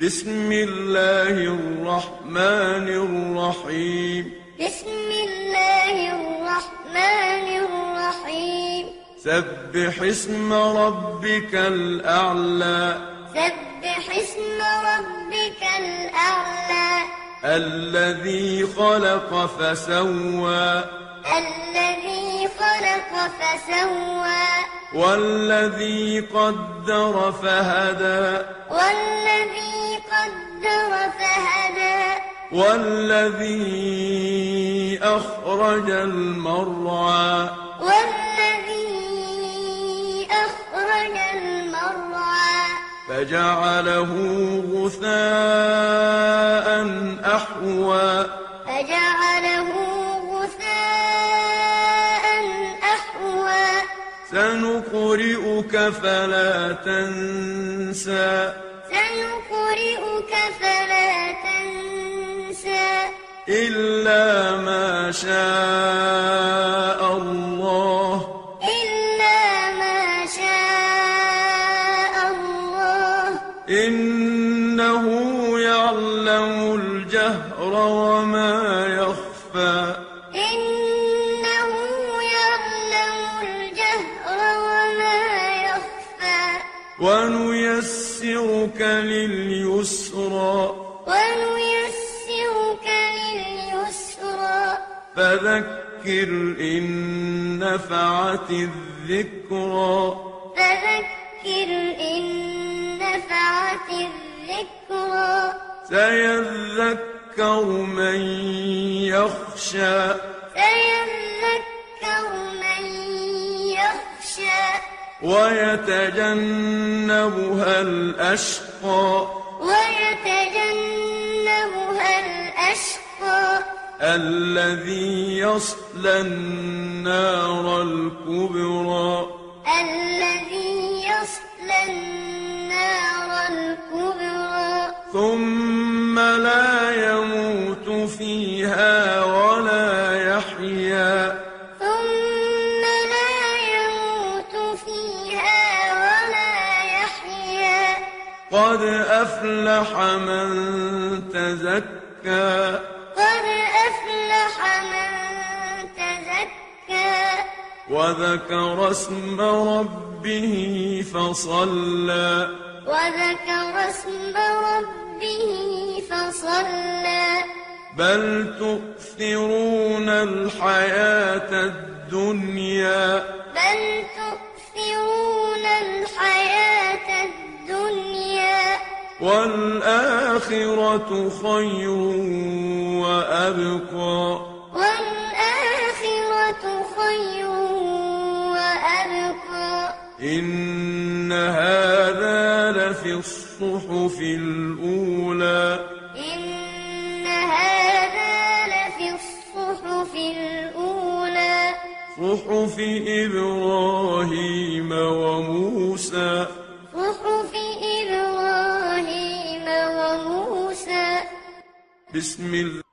بسم الله الرحمن الرحيم بسم الله الرحمن الرحيم سبح اسم ربك الأعلى سبح اسم ربك الأعلى الذي خلق فسوى الذي خلق فسوى والذي قدر فهدى والذي قدر فهدى والذي أخرج المرعى والذي أخرج المرعى فجعله غثاء أحوى فجعله غثاء أحوى سنقرئك فلا تنسى سنقرئك فلا تنسى إلا ما شاء الله إلا ما شاء الله إنه يعلم الجهر وما يخفى إنه يعلم الجهر وما يخفى ونيسرك لليسرى ونيسرك لليسرى فذكر إن نفعت الذكرى فذكر إن نفعت الذكرى سيذكر من يخشى سيذكر من يخشى ويتجنبها الأشقى ويتجنبها الأشقى الذي يصلى النار الكبرى الذي يصلى النار الكبرى ثم لا يموت فيها ولا يحيا ثم لا يموت فيها ولا يحيا قد أفلح من تزكى قد أفلح من تزكى وذكر اسم ربه فصلى وذكر اسم ربه فصلى بل تؤثرون الحياة الدنيا بل تؤثرون الحياة الدنيا والآخرة خير وأبقى والآخرة خير وأبقى إن هذا لفي الصحف الأولى إن هذا لفي الصحف الأولى صحف إبراهيم وموسى صحف إبراهيم وموسى بسم الله